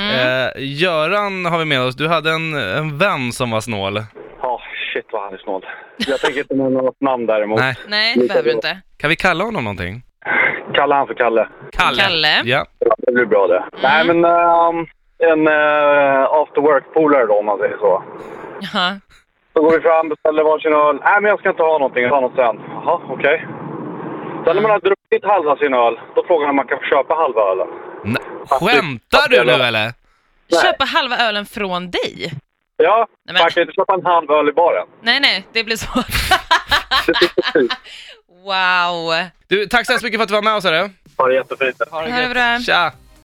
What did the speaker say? Eh, Göran har vi med oss. Du hade en, en vän som var snål. Ja, shit vad han är snål. Jag tänker inte nämna något namn däremot. Nej. Nej, det behöver du inte. Kan vi kalla honom någonting? Kalla han för Kalle. Kalle. Kalle. Ja. Ja, Det blir bra det. Nej men, ehm, en eh, after work-polare då om man säger så. Jaha. Så går vi fram, beställer varsin öl. Nej men jag ska inte ha någonting, jag tar något sen. Jaha, okej. Sen när man har druckit halva sin öl, då frågar han om man kan få köpa halva ölen. Nej. Skämtar du nu eller? Nej. Köpa halva ölen från dig? Ja, Nej, man men, kan ju inte köpa en halv öl i baren. nej, nej, det blir svårt. wow. Du, tack så hemskt mycket för att du var med oss hörru. Ha det jättefint. Ha det bra. Tja.